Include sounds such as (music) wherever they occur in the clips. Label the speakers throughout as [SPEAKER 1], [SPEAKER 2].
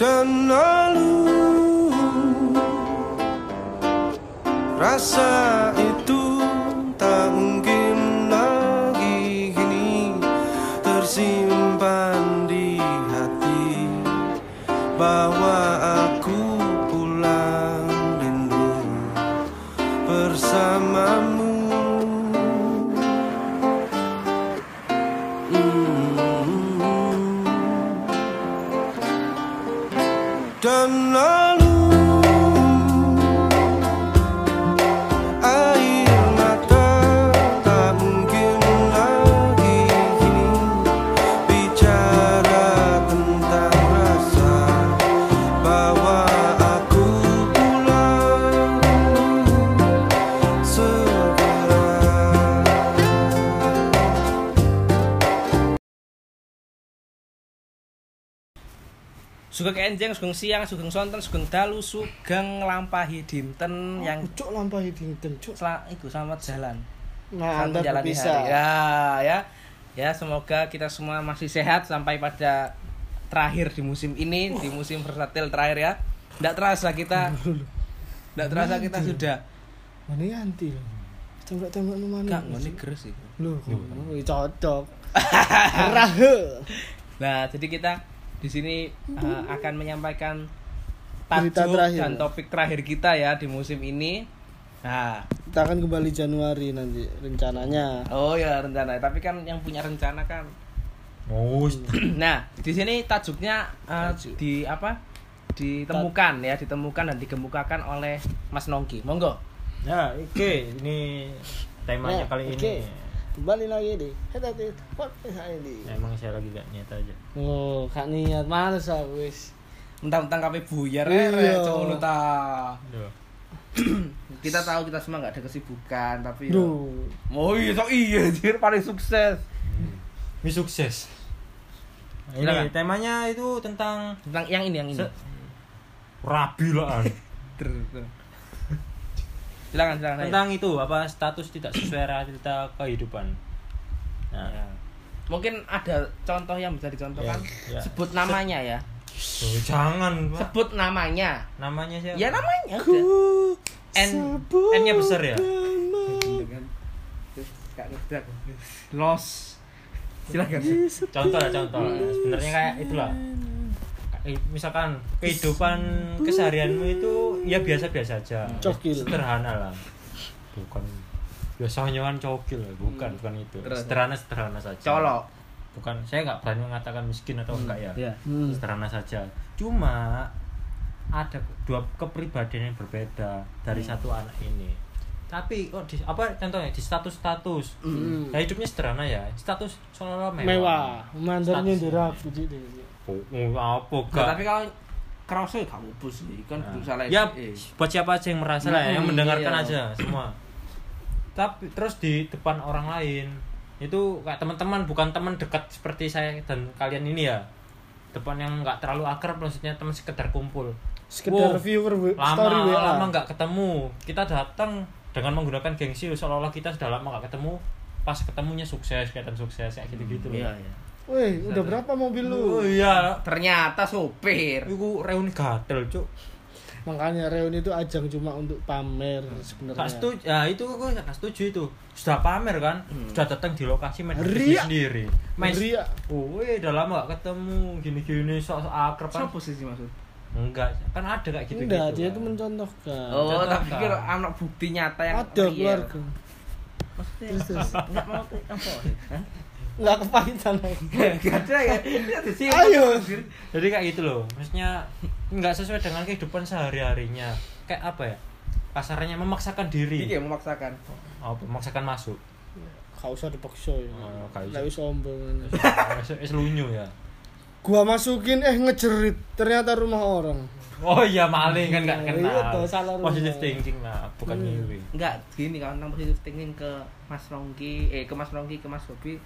[SPEAKER 1] dan lalu Rasa itu tak mungkin lagi kini Tersimpan di hati Bahwa aku pulang rindu bersamamu Mm. dan lalu air mata tak mungkin lagi kini bicara tentang rasa bahwa aku pulang segera.
[SPEAKER 2] Sugeng Enjeng, Sugeng Siang, Sugeng Sonten, Sugeng Dalu, Sugeng Lampahi Dinten yang
[SPEAKER 3] cuk lampah dinten cuk.
[SPEAKER 2] sel itu selamat jalan. Selamat
[SPEAKER 3] Nah, anda
[SPEAKER 2] menjalani hari.
[SPEAKER 3] bisa.
[SPEAKER 2] Ya, ya. Ya, semoga kita semua masih sehat sampai pada terakhir di musim ini, di musim versatil terakhir ya. Tidak terasa kita Tidak terasa kita sudah
[SPEAKER 3] Mana anti lho. Tembak tembak lu mana?
[SPEAKER 2] enggak ngene gerus itu.
[SPEAKER 3] Lho, wih, cocok. Rahe.
[SPEAKER 2] Nah, jadi kita di sini eh, akan menyampaikan
[SPEAKER 3] Hmm. Berita
[SPEAKER 2] tajuk
[SPEAKER 3] terakhir.
[SPEAKER 2] dan topik terakhir kita ya di musim ini. Nah,
[SPEAKER 3] Kita akan kembali Januari nanti rencananya.
[SPEAKER 2] oh ya rencana, tapi kan yang punya rencana kan. (clears throat)
[SPEAKER 4] Oh,
[SPEAKER 2] Nah, di sini tajuknya eh, di apa? Ditemukan ya, ditemukan dan dikemukakan oleh Mas Nongki. Monggo.
[SPEAKER 4] ya oke ini
[SPEAKER 3] Nah,
[SPEAKER 4] temanya kali
[SPEAKER 3] oke.
[SPEAKER 4] ini.
[SPEAKER 3] Kembali lagi di Head at It Podcast hari ini.
[SPEAKER 4] Emang saya lagi gak nyata aja.
[SPEAKER 3] Oh, kak niat males aku wis.
[SPEAKER 2] Mentang-mentang kape buyar eh,
[SPEAKER 3] Iya.
[SPEAKER 2] rere, cowok lu ta.
[SPEAKER 4] Duh.
[SPEAKER 2] Kita tahu kita semua nggak ada kesibukan, tapi ya-
[SPEAKER 3] Duh.
[SPEAKER 2] Oh iya, so iya, jir, paling sukses.
[SPEAKER 4] Ini sukses. Ini
[SPEAKER 2] Silakan.
[SPEAKER 4] temanya itu tentang
[SPEAKER 2] Tentang yang ini, yang ini.
[SPEAKER 4] Se- rabilaan.
[SPEAKER 2] Ter- ter- silakan, silakan. ayo.
[SPEAKER 4] (laughs) tentang itu apa status tidak sesuai realita kehidupan. Nah,
[SPEAKER 2] Ya. Mungkin ada contoh yang bisa dicontohkan.
[SPEAKER 4] Ya, ya.
[SPEAKER 2] Sebut namanya ya.
[SPEAKER 4] oh, jangan, Pak.
[SPEAKER 2] Sebut namanya.
[SPEAKER 4] Namanya siapa?
[SPEAKER 2] Ya namanya.
[SPEAKER 3] Ku
[SPEAKER 2] udah.
[SPEAKER 4] N N-nya besar ya?
[SPEAKER 2] Los. Silakan.
[SPEAKER 4] Contoh lah, contoh. Sebenarnya kayak itulah. Eh, Misalkan kehidupan keseharianmu itu ya biasa-biasa aja.
[SPEAKER 3] Cokil.
[SPEAKER 4] Sederhana lah. Bukan biasanya kan cokil, bukan bukan itu.
[SPEAKER 2] Terus.
[SPEAKER 4] Sederhana-sederhana saja.
[SPEAKER 2] Colok.
[SPEAKER 4] bukan saya nggak berani mengatakan miskin atau enggak ya
[SPEAKER 2] Iya.
[SPEAKER 3] Hmm.
[SPEAKER 4] sederhana saja cuma ada dua kepribadian yang berbeda dari
[SPEAKER 2] Hmm.
[SPEAKER 4] satu anak ini tapi kok di apa contohnya di status status
[SPEAKER 3] Hmm.
[SPEAKER 4] Nah, hidupnya sederhana ya status seolah-olah mewah,
[SPEAKER 3] Mewah, mandarnya
[SPEAKER 4] Statusnya.
[SPEAKER 3] derap gitu deh.
[SPEAKER 4] Oh, oh, apa
[SPEAKER 2] Nah,
[SPEAKER 4] gak
[SPEAKER 2] tapi kalau kerasa ya kamu bus sih kan
[SPEAKER 4] Nah.
[SPEAKER 2] berusaha
[SPEAKER 4] ya buat siapa aja yang merasa lah ya, yang
[SPEAKER 2] Hmm,
[SPEAKER 4] mendengarkan
[SPEAKER 2] iya.
[SPEAKER 4] aja semua tapi terus di depan orang lain itu kayak teman-teman bukan teman dekat seperti saya dan kalian ini ya depan yang nggak terlalu akrab maksudnya teman sekedar kumpul
[SPEAKER 3] Sekedar
[SPEAKER 4] Wow,
[SPEAKER 3] viewer we- story
[SPEAKER 4] lama
[SPEAKER 3] WA.
[SPEAKER 4] lama nggak ketemu kita datang dengan menggunakan gengsi seolah-olah kita sudah lama nggak ketemu pas ketemunya sukses kelihatan sukses kayak gitu-gitu
[SPEAKER 2] Iya.
[SPEAKER 4] loh.
[SPEAKER 3] Wih, udah berapa mobil lu?
[SPEAKER 4] Oh iya
[SPEAKER 2] Ternyata sopir.
[SPEAKER 4] itu reuni gatel cuk
[SPEAKER 3] Makanya reuni itu ajang cuma untuk pamer
[SPEAKER 4] Gak
[SPEAKER 3] sebenarnya.
[SPEAKER 4] setuju, ya itu gue gak setuju itu Sudah pamer kan, sudah datang di lokasi main
[SPEAKER 3] Ria.
[SPEAKER 4] sendiri sendiri Main
[SPEAKER 3] Ria.
[SPEAKER 4] Oh, weh, udah lama gak ketemu, gini-gini, sok-sok akrab kan
[SPEAKER 2] Sopo sih sih, maksud?
[SPEAKER 4] Enggak, kan ada kayak gitu-gitu
[SPEAKER 3] Enggak, dia
[SPEAKER 4] kan.
[SPEAKER 3] itu mencontohkan.
[SPEAKER 2] Oh,
[SPEAKER 4] Ah, Contoh
[SPEAKER 2] tak
[SPEAKER 4] apa?
[SPEAKER 2] pikir anak bukti nyata yang
[SPEAKER 3] Ada
[SPEAKER 2] real.
[SPEAKER 3] keluarga.
[SPEAKER 2] Maksudnya
[SPEAKER 3] Terus, terus.
[SPEAKER 2] enggak mau ke- apa? Hah?
[SPEAKER 3] Enggak kepahitan lagi.
[SPEAKER 2] Gak ada ya. Lihat di sini.
[SPEAKER 3] Ayo.
[SPEAKER 4] Jadi kayak gitu loh, maksudnya nggak sesuai dengan kehidupan sehari-harinya Kayak apa ya, kasarnya memaksakan
[SPEAKER 2] Iki
[SPEAKER 4] diri
[SPEAKER 2] yang memaksakan.
[SPEAKER 4] Apa, memaksakan masuk
[SPEAKER 3] Enggak usah dipaksa ya.
[SPEAKER 4] Oh, nggak usah.
[SPEAKER 3] Enggak usah sombong.
[SPEAKER 4] Es lunyu ya
[SPEAKER 3] Gua masukin eh ngejerit, ternyata rumah orang.
[SPEAKER 4] Oh iya maling kan gak
[SPEAKER 3] Iya,
[SPEAKER 4] kenal
[SPEAKER 3] tuh, salah rumah.
[SPEAKER 4] Positive thinking lah, bukan
[SPEAKER 3] Hmm.
[SPEAKER 4] ngiwi
[SPEAKER 2] Enggak, gini kalau tentang positive thinking ke Mas Rongki, eh ke Mas Rongki, ke Mas Bobi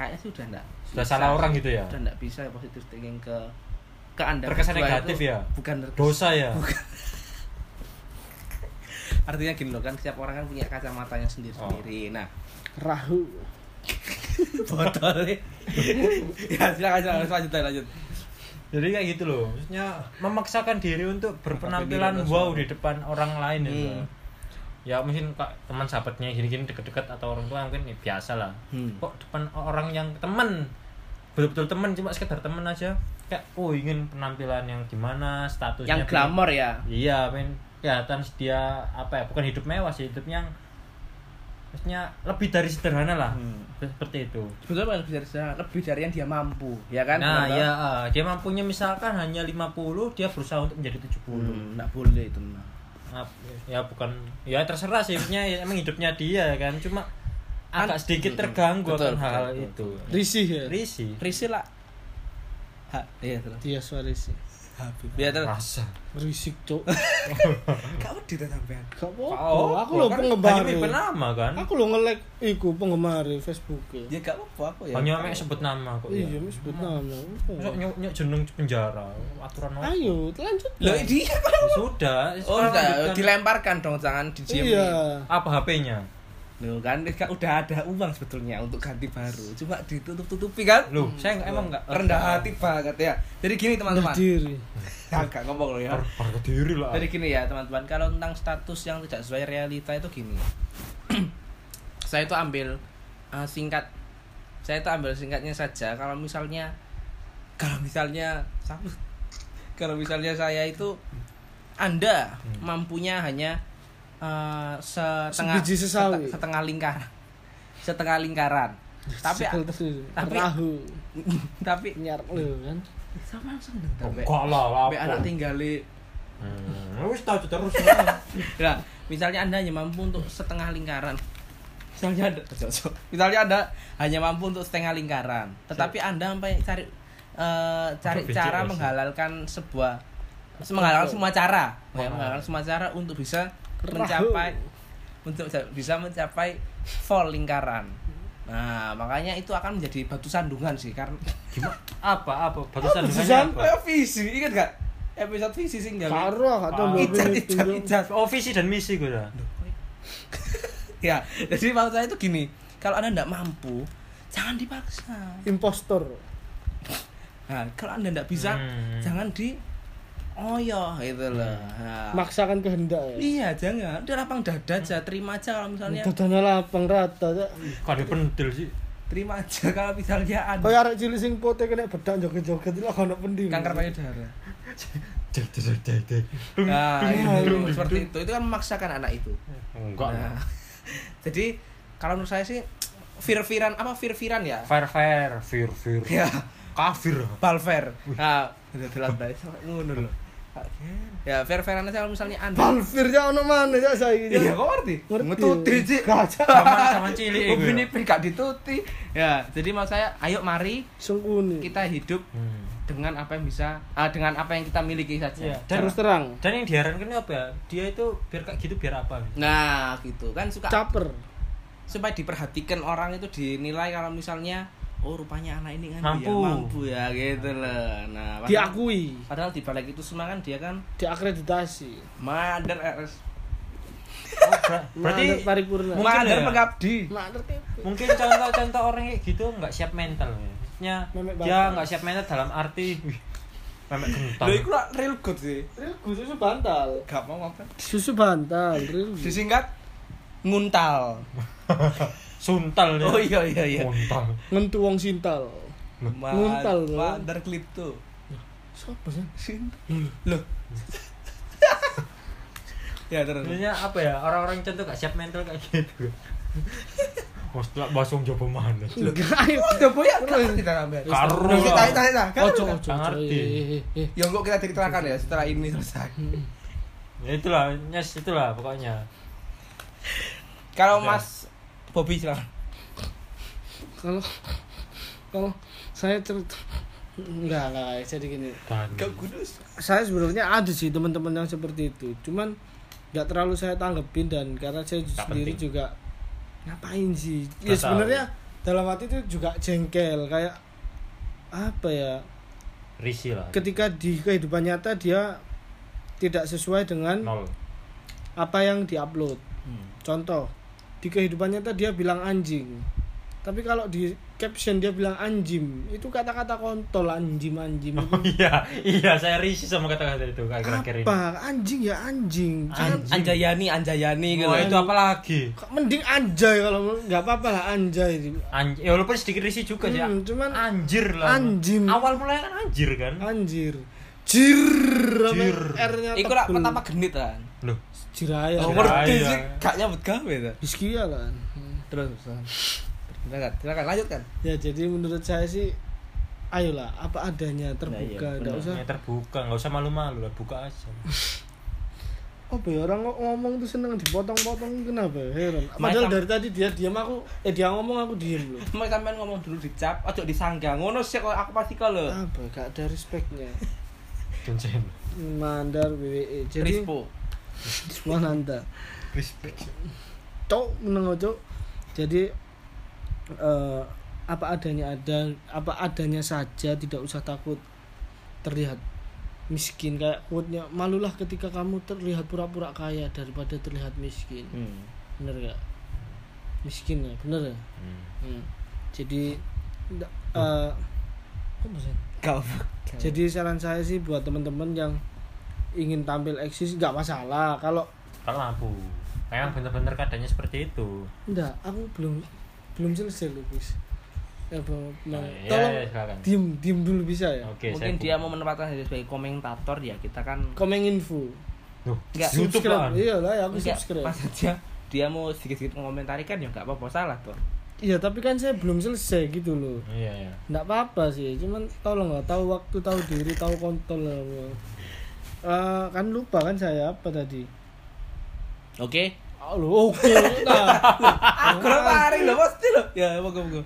[SPEAKER 2] kayaknya sudah enggak.
[SPEAKER 4] Sudah salah orang gitu ya?
[SPEAKER 2] Sudah enggak bisa positive thinking ke ke Anda.
[SPEAKER 4] Terkesan
[SPEAKER 2] berdua
[SPEAKER 4] negatif
[SPEAKER 2] itu
[SPEAKER 4] ya?
[SPEAKER 2] Bukan terkesan.
[SPEAKER 4] Dosa ya?
[SPEAKER 2] Artinya gini loh kan setiap orang kan punya kacamatanya
[SPEAKER 4] Oh.
[SPEAKER 2] sendiri-sendiri. Nah, (laughs)
[SPEAKER 3] Rahu.
[SPEAKER 2] botolnya ya silakan silakan lanjut lanjut.
[SPEAKER 4] Jadi kayak gitu loh. Maksudnya memaksakan diri untuk berpenampilan wow di depan orang lain gitu. Ya mungkin kak teman sahabatnya gini-gini deket-deket atau orang tua mungkin ya, biasa lah.
[SPEAKER 2] Hmm.
[SPEAKER 4] Kok depan orang yang temen betul-betul temen cuma sekedar temen aja kayak oh ingin penampilan yang gimana statusnya
[SPEAKER 2] yang
[SPEAKER 4] pengen-
[SPEAKER 2] glamor ya
[SPEAKER 4] Iya, men kelihatan dia apa ya? Bukan hidup mewah sih, hidupnya maksudnya lebih dari sederhana lah.
[SPEAKER 2] Hmm.
[SPEAKER 4] Seperti itu.
[SPEAKER 2] sebetulnya lebih dari sana, lebih dari yang dia mampu ya kan
[SPEAKER 4] nah,
[SPEAKER 2] Benar,
[SPEAKER 4] ya eh, dia mampunya misalkan hanya 50, dia berusaha untuk menjadi 70.
[SPEAKER 2] Hmm, nggak boleh itu nah.
[SPEAKER 4] Maaf, ya bukan ya terserah sih, maksudnya ya, emang hidupnya dia kan, cuma agak sedikit terganggu
[SPEAKER 2] Kan- Hmm, Betul,
[SPEAKER 4] akan
[SPEAKER 2] betul,
[SPEAKER 4] hal
[SPEAKER 2] betul,
[SPEAKER 4] itu.
[SPEAKER 3] Risih ya.
[SPEAKER 4] Risi.
[SPEAKER 2] Risi lah ha, iya terus
[SPEAKER 3] Dia suarisi.
[SPEAKER 2] ya terus
[SPEAKER 4] Rasa.
[SPEAKER 3] Berisik, Cuk.
[SPEAKER 2] kau di sampean
[SPEAKER 3] Gak
[SPEAKER 2] Oh,
[SPEAKER 3] apa-apa. Aku
[SPEAKER 2] kan
[SPEAKER 4] Kan
[SPEAKER 3] lo penggemar. ya.
[SPEAKER 4] Hanya menyebut nama kan?
[SPEAKER 3] Aku lo nge-like iku penggemar Facebook ya.
[SPEAKER 2] ya gak apa-apa aku ya
[SPEAKER 4] Hanya mek sebut nama kok.
[SPEAKER 3] Iya, wis sebut nama.
[SPEAKER 4] oh, Masuk nyok nyok jeneng penjara, aturan apa?
[SPEAKER 3] Ayo, lanjut.
[SPEAKER 2] Loh, iya.
[SPEAKER 3] Bang.
[SPEAKER 2] dia
[SPEAKER 4] Ya sudah,
[SPEAKER 2] oh
[SPEAKER 4] sekarang
[SPEAKER 2] enggak
[SPEAKER 4] lanjutkan.
[SPEAKER 2] dilemparkan dong jangan didiemin
[SPEAKER 3] Iya.
[SPEAKER 4] apa HP-nya?
[SPEAKER 2] Loh kan kan udah ada uang sebetulnya untuk ganti baru. Cuma ditutup-tutupi kan?
[SPEAKER 4] Loh, saya enggak- emang enggak
[SPEAKER 2] rendah hati banget ya. Jadi gini teman-teman.
[SPEAKER 3] Berdiri.
[SPEAKER 2] Agak ngomong loh ya.
[SPEAKER 4] Harga diri lah.
[SPEAKER 2] Jadi gini ya teman-teman, kalau tentang status yang tidak sesuai realita itu gini. (clears throat) saya itu ambil eh, singkat. Saya itu ambil singkatnya saja. Kalau misalnya kalau misalnya (laughs) kalau misalnya saya itu Anda
[SPEAKER 3] Hmm.
[SPEAKER 2] mampunya hanya eh, setengah
[SPEAKER 3] Sebiji sesawi.
[SPEAKER 2] sete- setengah lingkaran. Setengah
[SPEAKER 3] (laughs)
[SPEAKER 2] lingkaran. Tapi
[SPEAKER 3] Sebel terus.
[SPEAKER 2] tapi-
[SPEAKER 3] Perahu.
[SPEAKER 2] tapi
[SPEAKER 3] Nyar lo kan.
[SPEAKER 2] sama langsung dendam, Be.
[SPEAKER 3] Oh,
[SPEAKER 4] Enggak lah, lah.
[SPEAKER 2] Be, anak tinggali
[SPEAKER 4] Hmm, wis tahu terus.
[SPEAKER 2] Nah, misalnya Anda hanya mampu untuk setengah lingkaran. Misalnya Anda, misalnya Anda hanya mampu untuk setengah lingkaran, tetapi Anda sampai cari eh, cari
[SPEAKER 4] Untuk
[SPEAKER 2] cara
[SPEAKER 4] BCS.
[SPEAKER 2] menghalalkan sebuah menghalalkan semua cara, ya,
[SPEAKER 4] Oh.
[SPEAKER 2] menghalalkan semua cara untuk bisa
[SPEAKER 3] Rahu.
[SPEAKER 2] mencapai untuk bisa mencapai full lingkaran. Nah, makanya itu akan menjadi batu sandungan sih karena
[SPEAKER 4] Gimana? Apa apa batu
[SPEAKER 3] Susan?
[SPEAKER 4] sandungannya apa?
[SPEAKER 2] Kayak visi, ingat gak? Episode visi sing nggak
[SPEAKER 3] Karo gak tombol
[SPEAKER 2] Ijat,
[SPEAKER 3] ini
[SPEAKER 2] ijat,
[SPEAKER 3] tunjuk.
[SPEAKER 2] ijat.
[SPEAKER 4] Oh, visi dan misi gue dah.
[SPEAKER 2] ya jadi maksud saya itu gini kalau anda tidak mampu jangan dipaksa
[SPEAKER 3] Impostor.
[SPEAKER 2] nah, kalau anda tidak bisa
[SPEAKER 4] Hmm.
[SPEAKER 2] jangan di oyo gitu loh Nah,
[SPEAKER 4] Hmm.
[SPEAKER 3] Maksakan kehendak ya.
[SPEAKER 2] Ah. iya jangan udah lapang dada aja terima aja kalau misalnya
[SPEAKER 3] Dadana lapang rata. Cak.
[SPEAKER 4] Kok ada pentil sih?
[SPEAKER 2] terima aja kalau misalnya anda
[SPEAKER 3] Kayak arek cilik sing pote kena bedak joget-joget lho gak ono pendiri.
[SPEAKER 2] kanker payudara
[SPEAKER 4] Dek dek dek dek. Dung,
[SPEAKER 2] nah
[SPEAKER 4] dung,
[SPEAKER 2] itu,
[SPEAKER 4] dung, dung,
[SPEAKER 2] seperti
[SPEAKER 4] dung.
[SPEAKER 2] itu itu kan memaksakan anak itu
[SPEAKER 4] Oh, Enggak lah.
[SPEAKER 2] nah, (laughs) jadi kalau menurut saya sih fir-firan apa fir-firan ya
[SPEAKER 4] Fair fair, fir fir.
[SPEAKER 2] (laughs) ya
[SPEAKER 4] Kafir.
[SPEAKER 2] Balver. Nah, udah telat bae. Sampai Ngono lho. Ya, fair-fairan aja kalau misalnya Anda.
[SPEAKER 3] Balfir ya ono mana ya saiki.
[SPEAKER 2] Iya,
[SPEAKER 3] Cak?
[SPEAKER 2] kok ngerti?
[SPEAKER 3] Ngerti.
[SPEAKER 2] Ngetuti, Cik.
[SPEAKER 4] Sama sama cilik ya.
[SPEAKER 2] Ubin
[SPEAKER 4] gue.
[SPEAKER 2] ibin gak dituti. Ya, jadi maksud saya, ayo mari
[SPEAKER 3] Sungkuni.
[SPEAKER 2] kita hidup
[SPEAKER 4] Hmm.
[SPEAKER 2] dengan apa yang bisa ah, dengan apa yang kita miliki saja.
[SPEAKER 4] Iya. Dan
[SPEAKER 3] Terus terang.
[SPEAKER 4] dan yang diharapkan apa ya? Dia itu biar kayak gitu biar apa?
[SPEAKER 2] Nah, gitu kan suka
[SPEAKER 3] Caper.
[SPEAKER 2] supaya diperhatikan orang itu dinilai kalau misalnya oh rupanya anak ini kan
[SPEAKER 4] Mampu.
[SPEAKER 2] dia mampu ya gitu loh. Nah, padahal-
[SPEAKER 3] Diakui.
[SPEAKER 2] Padahal di balik itu semua kan dia kan
[SPEAKER 3] Diakreditasi.
[SPEAKER 2] Mader RS. nah,
[SPEAKER 4] Oh, ber-
[SPEAKER 3] Berarti
[SPEAKER 4] berarti
[SPEAKER 3] paripurna.
[SPEAKER 4] Mungkin
[SPEAKER 2] Mader
[SPEAKER 4] ya.
[SPEAKER 2] mengabdi.
[SPEAKER 3] Mater tipe.
[SPEAKER 4] mungkin contoh-contoh orang kayak gitu nggak siap mental ya. Maksudnya
[SPEAKER 3] Memek
[SPEAKER 4] dia
[SPEAKER 3] bantal.
[SPEAKER 4] nggak siap mental dalam arti wih, memek kentang.
[SPEAKER 2] Lho iku lah real good sih.
[SPEAKER 3] susu bantal.
[SPEAKER 2] Gak mau apa.
[SPEAKER 3] Susu bantal. real.
[SPEAKER 2] Disingkat nguntal.
[SPEAKER 4] (laughs) Suntal ya.
[SPEAKER 2] Oh iya iya iya.
[SPEAKER 4] Kontal.
[SPEAKER 3] Ngentu wong sintal.
[SPEAKER 2] Ma-
[SPEAKER 3] Nguntal, lho.
[SPEAKER 2] Mader klipto.
[SPEAKER 3] Sopo sih?
[SPEAKER 2] Loh. ya terus.
[SPEAKER 4] Sebenarnya apa ya orang-orang contoh nggak siap mental kayak gitu. Mas telak basung jopo mana?
[SPEAKER 3] Lho, ayo.
[SPEAKER 2] Udah boya terus kita ngambil.
[SPEAKER 4] Karo.
[SPEAKER 2] Loh, kita kita kita. Karo.
[SPEAKER 3] Ojo ojo.
[SPEAKER 4] Nggak ngerti.
[SPEAKER 3] Eh, eh, eh.
[SPEAKER 2] Ya kok kita ceritakan ya setelah ini selesai.
[SPEAKER 4] Ya itulah, yes, itulah pokoknya.
[SPEAKER 2] Kalau
[SPEAKER 4] Udah.
[SPEAKER 2] Mas Bobby silakan.
[SPEAKER 3] Kalau kalau saya cerita enggak enggak jadi gini.
[SPEAKER 4] Dan
[SPEAKER 2] kudus.
[SPEAKER 3] saya sebenarnya ada sih teman-teman yang seperti itu cuman nggak terlalu saya tanggepin dan karena saya
[SPEAKER 4] Nggak
[SPEAKER 3] sendiri
[SPEAKER 4] penting.
[SPEAKER 3] juga ngapain sih ya
[SPEAKER 4] Nggak tahu.
[SPEAKER 3] sebenarnya dalam hati itu juga jengkel kayak apa ya
[SPEAKER 4] risi lah.
[SPEAKER 3] ketika di kehidupan nyata dia tidak sesuai dengan
[SPEAKER 4] Nol.
[SPEAKER 3] apa yang diupload
[SPEAKER 2] Hmm.
[SPEAKER 3] contoh di kehidupan nyata dia bilang anjing tapi kalau di caption dia bilang anjim itu kata-kata kontol anjim
[SPEAKER 4] (laughs)
[SPEAKER 3] anjim
[SPEAKER 4] Oh iya, iya saya risih sama kata-kata itu akhir-akhir ini.
[SPEAKER 3] apa anjing ya anjing Jangan-
[SPEAKER 4] Anjing.
[SPEAKER 2] Anjayani, Anjayani gitu.
[SPEAKER 4] Wah, itu apa lagi?
[SPEAKER 3] kok mending anjay kalau mau- nggak apa-apa lah anjay
[SPEAKER 4] Anj ya walaupun sedikit risih juga sih.
[SPEAKER 3] Hmm, cuman
[SPEAKER 4] anjir lah.
[SPEAKER 3] anjim.
[SPEAKER 4] Awal mulanya kan anjir kan.
[SPEAKER 3] anjir jir apa
[SPEAKER 4] Jir.
[SPEAKER 3] R-nya
[SPEAKER 2] Iku rak
[SPEAKER 3] tebel.
[SPEAKER 2] pertama genit kan.
[SPEAKER 4] Loh,
[SPEAKER 3] jiraya
[SPEAKER 2] Oh,
[SPEAKER 4] Jiraya.
[SPEAKER 2] ngerti sih, gak nyambut gawe ta.
[SPEAKER 3] Hizkia lah
[SPEAKER 2] Terus. Silakan, silakan lanjutkan.
[SPEAKER 3] ya jadi menurut saya sih ayolah apa adanya terbuka nggak usah
[SPEAKER 4] ya terbuka, nggak usah malu-malu lah, buka aja.
[SPEAKER 3] apa ya orang ngo- ngomong tuh seneng dipotong-potong kenapa ya? heran padahal
[SPEAKER 2] Macam-
[SPEAKER 3] dari tadi dia diam aku eh dia ngomong aku diem loh
[SPEAKER 2] Mau sampean ngomong dulu dicap, ojo disangga. Ngono sih kalau aku pasti kalau
[SPEAKER 3] apa gak ada respectnya
[SPEAKER 4] Cincin.
[SPEAKER 3] mandar WWE jadi
[SPEAKER 2] Rispo.
[SPEAKER 3] Mananda
[SPEAKER 4] Respect.
[SPEAKER 3] cok meneng cok jadi eh, apa adanya ada apa adanya saja tidak usah takut terlihat miskin kayak quote-nya malulah ketika kamu terlihat pura-pura kaya daripada terlihat miskin
[SPEAKER 2] Hmm.
[SPEAKER 3] bener gak miskin ya bener ya
[SPEAKER 4] Hmm.
[SPEAKER 3] Hmm. jadi nda- eh, apa sih?
[SPEAKER 2] Gak
[SPEAKER 3] jadi saran saya sih buat teman-teman yang ingin tampil eksis nggak masalah kalau
[SPEAKER 4] Kalau lampu. Memang bener-bener keadaannya seperti itu.
[SPEAKER 3] Enggak, aku belum belum selesai loh, Guys. Ya, Bang, Bang.
[SPEAKER 4] Nah, iya,
[SPEAKER 3] tolong
[SPEAKER 4] iya, silakan.
[SPEAKER 3] diem diem dulu bisa ya.
[SPEAKER 4] Oke,
[SPEAKER 2] Mungkin
[SPEAKER 4] saya
[SPEAKER 2] dia
[SPEAKER 4] buka.
[SPEAKER 2] mau menempatkan diri sebagai komentator ya, kita kan
[SPEAKER 3] Komen info.
[SPEAKER 4] Loh,
[SPEAKER 2] Nggak.
[SPEAKER 4] YouTube
[SPEAKER 3] subscribe.
[SPEAKER 4] lah.
[SPEAKER 3] Iya lah, ya, aku
[SPEAKER 2] enggak
[SPEAKER 3] subscribe.
[SPEAKER 2] pas aja dia mau sedikit-sedikit mengomentari kan ya enggak apa-apa salah tuh.
[SPEAKER 3] Iya, tapi kan saya belum selesai gitu loh.
[SPEAKER 4] Iya, iya.
[SPEAKER 3] Enggak apa-apa sih, cuman tolong lah tahu waktu, tahu diri, tahu kontol lah. Bang. Eh, kan lupa kan saya apa tadi?
[SPEAKER 2] Oke.
[SPEAKER 3] Oh, loh, oke. Nah,
[SPEAKER 2] Aku lari loh pasti loh. Ya, moga-moga.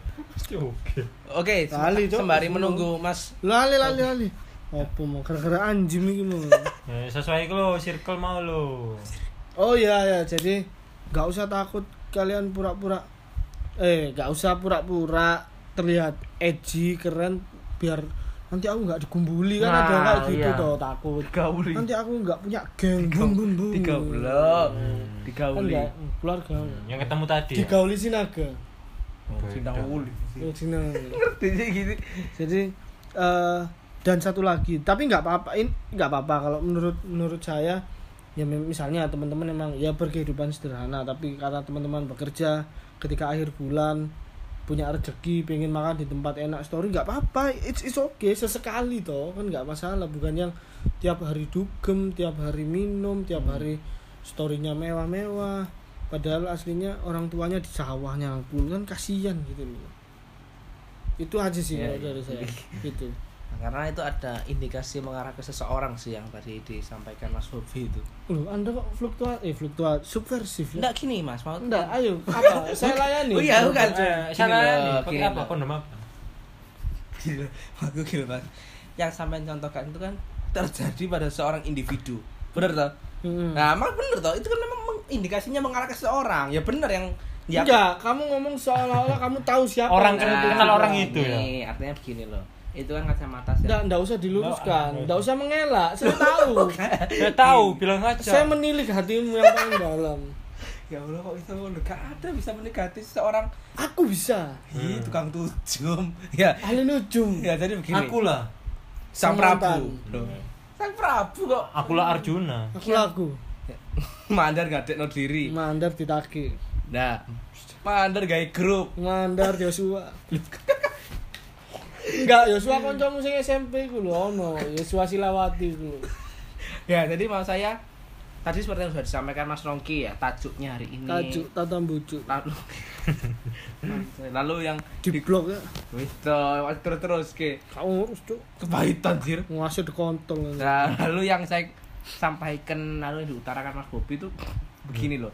[SPEAKER 4] Oke.
[SPEAKER 2] Oke, sem-
[SPEAKER 3] Lali, Cok.
[SPEAKER 2] sembari menunggu Mas
[SPEAKER 3] lali lali lali. Apa mau kira-kira anjing iki mau.
[SPEAKER 4] Ya, sesuai lo, circle mau lo.
[SPEAKER 3] Oh iya ya, jadi nggak usah takut kalian pura-pura eh nggak usah pura-pura terlihat edgy keren biar nanti aku nggak digumbuli kan
[SPEAKER 4] Nah,
[SPEAKER 3] ada kayak gitu
[SPEAKER 4] iya.
[SPEAKER 3] toh takut
[SPEAKER 2] Gauli.
[SPEAKER 3] nanti aku nggak punya geng bum bum bum
[SPEAKER 2] Tiga blok. Digauli.
[SPEAKER 3] kan keluarga
[SPEAKER 4] Yang ketemu tadi. ya? Eh,
[SPEAKER 3] digauli sinaga
[SPEAKER 2] Oh, Cinta
[SPEAKER 4] Beda.
[SPEAKER 2] uli.
[SPEAKER 3] Oh, sinaga.
[SPEAKER 2] Ngerti sih gitu.
[SPEAKER 3] jadi eh dan satu lagi tapi nggak apa-apa ini nggak apa-apa kalau menurut menurut saya ya mem- misalnya teman-teman emang ya berkehidupan sederhana tapi karena teman-teman bekerja ketika akhir bulan punya rezeki pengen makan di tempat enak story nggak apa-apa it's it's okay sesekali toh kan nggak masalah bukan yang tiap hari dugem tiap hari minum tiap
[SPEAKER 2] Hmm.
[SPEAKER 3] hari storynya mewah-mewah padahal aslinya orang tuanya di sawahnya pun kan kasihan gitu loh itu aja sih
[SPEAKER 2] Ya,
[SPEAKER 3] kalau dari
[SPEAKER 2] (laughs)
[SPEAKER 3] saya gitu
[SPEAKER 2] Nah, karena itu ada indikasi mengarah ke seseorang sih yang tadi disampaikan Mas Hobi itu.
[SPEAKER 3] loh anda kok fluktuat eh fluktuat subversif ya
[SPEAKER 2] Enggak gini Mas, mau
[SPEAKER 3] enggak ayo apa (laughs) saya layani
[SPEAKER 2] Oh iya, bukan. Gini
[SPEAKER 4] Eh, Salah nih,
[SPEAKER 2] loh,
[SPEAKER 4] pakai
[SPEAKER 2] gini
[SPEAKER 4] apa?
[SPEAKER 2] loh.
[SPEAKER 4] Kondom apa?
[SPEAKER 2] Gila, aku gila Mas. Yang sampai contohkan itu kan terjadi pada seorang individu. Bener toh?
[SPEAKER 3] Mm-mm.
[SPEAKER 2] Nah, emang bener toh? Itu kan memang meng- indikasinya mengarah ke seseorang. Ya bener yang ya
[SPEAKER 3] enggak kamu ngomong seolah-olah kamu tahu siapa Nah,
[SPEAKER 4] Orang
[SPEAKER 3] yang
[SPEAKER 4] kenal-
[SPEAKER 3] itu.
[SPEAKER 4] kenal orang itu ya?
[SPEAKER 2] nih, Artinya begini loh. Itu Oh, kan kacamata sih.
[SPEAKER 3] enggak enggak usah diluruskan
[SPEAKER 4] Enggak,
[SPEAKER 3] enggak usah mengelak saya
[SPEAKER 2] (laughs)
[SPEAKER 3] tahu
[SPEAKER 4] Saya tahu, bilang aja.
[SPEAKER 3] saya menilik hatimu yang paling dalam
[SPEAKER 2] Ya Allah kok bisa ngono? Gak ada bisa mendekati seseorang
[SPEAKER 3] aku bisa
[SPEAKER 2] Ih, tukang tujum. (laughs) Ya.
[SPEAKER 3] ahli nujum
[SPEAKER 2] Ya jadi begini.
[SPEAKER 4] Aku lah.
[SPEAKER 2] Sang Prabu.
[SPEAKER 3] Semantan.
[SPEAKER 2] Loh. Sang Prabu kok
[SPEAKER 4] Aku lah Arjuna.
[SPEAKER 3] aku laku
[SPEAKER 2] Ya, (laughs) mandar ngadekno diri.
[SPEAKER 3] mandar ditaki
[SPEAKER 2] Nah, mandar gawe grup.
[SPEAKER 3] mandar Joshua enggak Joshua kancamu sing SMP ku lho ono Joshua Silawati ku lho
[SPEAKER 2] Ya, jadi mau saya tadi seperti yang sudah disampaikan Mas Rongki ya, tajuknya hari ini.
[SPEAKER 3] tajuk tatam bujuk
[SPEAKER 2] Lalu (laughs) Lalu yang
[SPEAKER 3] di blok ya
[SPEAKER 2] wis toh, terus terus ke
[SPEAKER 3] kamu urus cuk
[SPEAKER 2] kebahitan jir.
[SPEAKER 3] ngasih di kontol
[SPEAKER 2] Nah, (laughs) lalu yang saya sampaikan lalu yang diutarakan Mas Bobi itu begini loh.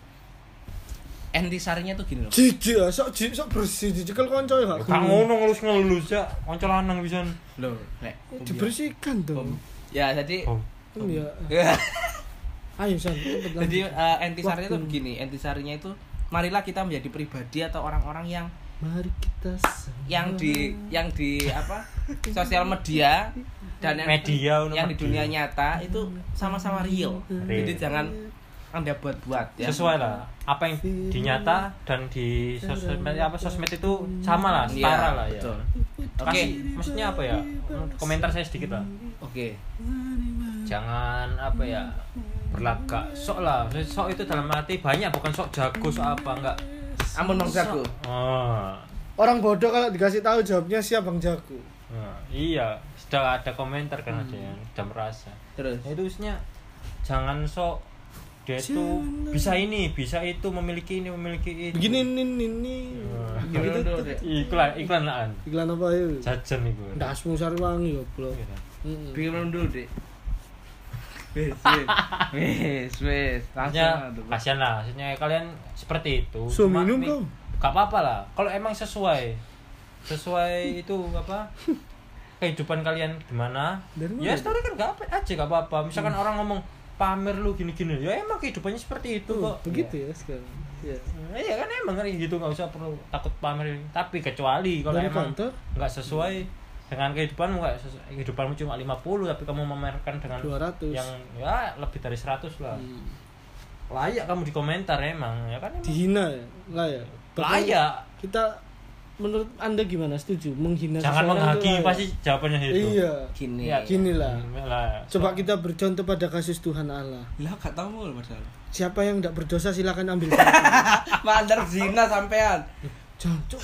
[SPEAKER 2] Entisarinya tuh gini loh.
[SPEAKER 3] jijik ya sok jijik sok bersih dicekel konco ya
[SPEAKER 4] Kang ngono ngelus ngelus ya, konco lanang bisa.
[SPEAKER 2] Loh, Lek.
[SPEAKER 3] Ya, dibersihkan dong
[SPEAKER 2] Ya, jadi (laughs)
[SPEAKER 4] Oh,
[SPEAKER 3] Hmm, ya ayo san cepet
[SPEAKER 2] Jadi
[SPEAKER 3] lanjut
[SPEAKER 2] eh, entisarinya itu
[SPEAKER 3] Waktu.
[SPEAKER 2] begini, entisarinya itu marilah kita menjadi pribadi atau orang-orang yang
[SPEAKER 3] mari kita sama.
[SPEAKER 2] yang di
[SPEAKER 3] Iya.
[SPEAKER 2] yang di
[SPEAKER 3] (laughs)
[SPEAKER 2] apa sosial media dan yang,
[SPEAKER 4] media ono
[SPEAKER 2] yang di
[SPEAKER 4] media.
[SPEAKER 2] dunia nyata itu sama-sama real.
[SPEAKER 3] Iya.
[SPEAKER 4] Real.
[SPEAKER 2] Jadi jangan anda buat-buat ya
[SPEAKER 4] sesuai lah apa yang dinyata dan di sosmed apa sosmed itu sama lah
[SPEAKER 2] Iya,
[SPEAKER 4] setara lah ya
[SPEAKER 2] betul.
[SPEAKER 4] oke
[SPEAKER 2] Oke.
[SPEAKER 4] maksudnya apa ya komentar saya sedikit lah
[SPEAKER 2] oke
[SPEAKER 4] jangan apa ya berlagak sok lah Maksudnya sok itu dalam arti banyak bukan sok jago sok apa enggak
[SPEAKER 2] ampun bang jago
[SPEAKER 4] oh
[SPEAKER 3] Orang bodoh kalau dikasih tahu jawabnya siap Bang Jago.
[SPEAKER 4] Nah, iya sudah ada komentar kan ada yang jam rasa
[SPEAKER 2] terus
[SPEAKER 4] Ya, itu isinya jangan sok dia itu bisa ini bisa itu memiliki ini memiliki itu
[SPEAKER 3] Begini nih nih nih.
[SPEAKER 4] Wah.
[SPEAKER 3] Gitu
[SPEAKER 2] Dulu,
[SPEAKER 3] tuh.
[SPEAKER 2] Dek.
[SPEAKER 4] iklan iklan laan
[SPEAKER 3] Iklan apa ya?
[SPEAKER 4] jajan itu Iya,
[SPEAKER 3] Dasmu Sarwangi goblok.
[SPEAKER 2] bikin belum dulu deh Hmm. wes wes wes wes langsung
[SPEAKER 4] Maksudnya,
[SPEAKER 2] lah, tuh.
[SPEAKER 4] kasihan lah maksudnya kalian seperti itu
[SPEAKER 3] So
[SPEAKER 4] Cuma
[SPEAKER 3] minum
[SPEAKER 4] ini-
[SPEAKER 3] dong.
[SPEAKER 4] gak apa-apa lah kalau emang sesuai
[SPEAKER 3] (laughs)
[SPEAKER 4] sesuai itu apa kehidupan kalian gimana
[SPEAKER 3] Dari mana? Hmm.
[SPEAKER 4] ya story kan gak apa aja gak apa-apa misalkan orang ngomong pamer lu gini-gini ya emang kehidupannya seperti itu kok
[SPEAKER 3] Begitu ya sekarang. Iya.
[SPEAKER 4] Ya, Iya kan emang kan gitu nggak usah perlu takut pamer tapi kecuali kalau
[SPEAKER 3] Dari
[SPEAKER 4] emang
[SPEAKER 3] kantor?
[SPEAKER 4] nggak sesuai dengan kehidupanmu nggak sesuai- kehidupanmu cuma 50 tapi kamu memamerkan dengan
[SPEAKER 3] 200.
[SPEAKER 4] yang ya lebih dari 100 lah
[SPEAKER 3] Hmm.
[SPEAKER 4] layak kamu di komentar emang ya kan emang
[SPEAKER 3] Dihina ya? Lah ya. Bakal-
[SPEAKER 4] layak
[SPEAKER 3] Kita menurut Anda gimana? Setuju menghina seseorang
[SPEAKER 4] jangan
[SPEAKER 3] itu
[SPEAKER 4] menghakimi
[SPEAKER 3] layak?
[SPEAKER 4] pasti jawabannya itu
[SPEAKER 3] Iya.
[SPEAKER 2] gini
[SPEAKER 4] Ya,
[SPEAKER 3] Gini lah.
[SPEAKER 4] lah
[SPEAKER 3] Coba kita bercontoh pada kasus Tuhan Allah.
[SPEAKER 2] lah gak tau mulu masalah
[SPEAKER 3] Siapa yang tidak berdosa silakan
[SPEAKER 2] (laughs)
[SPEAKER 3] ambil. Jangan.
[SPEAKER 2] mandar zina sampean
[SPEAKER 3] Cuk.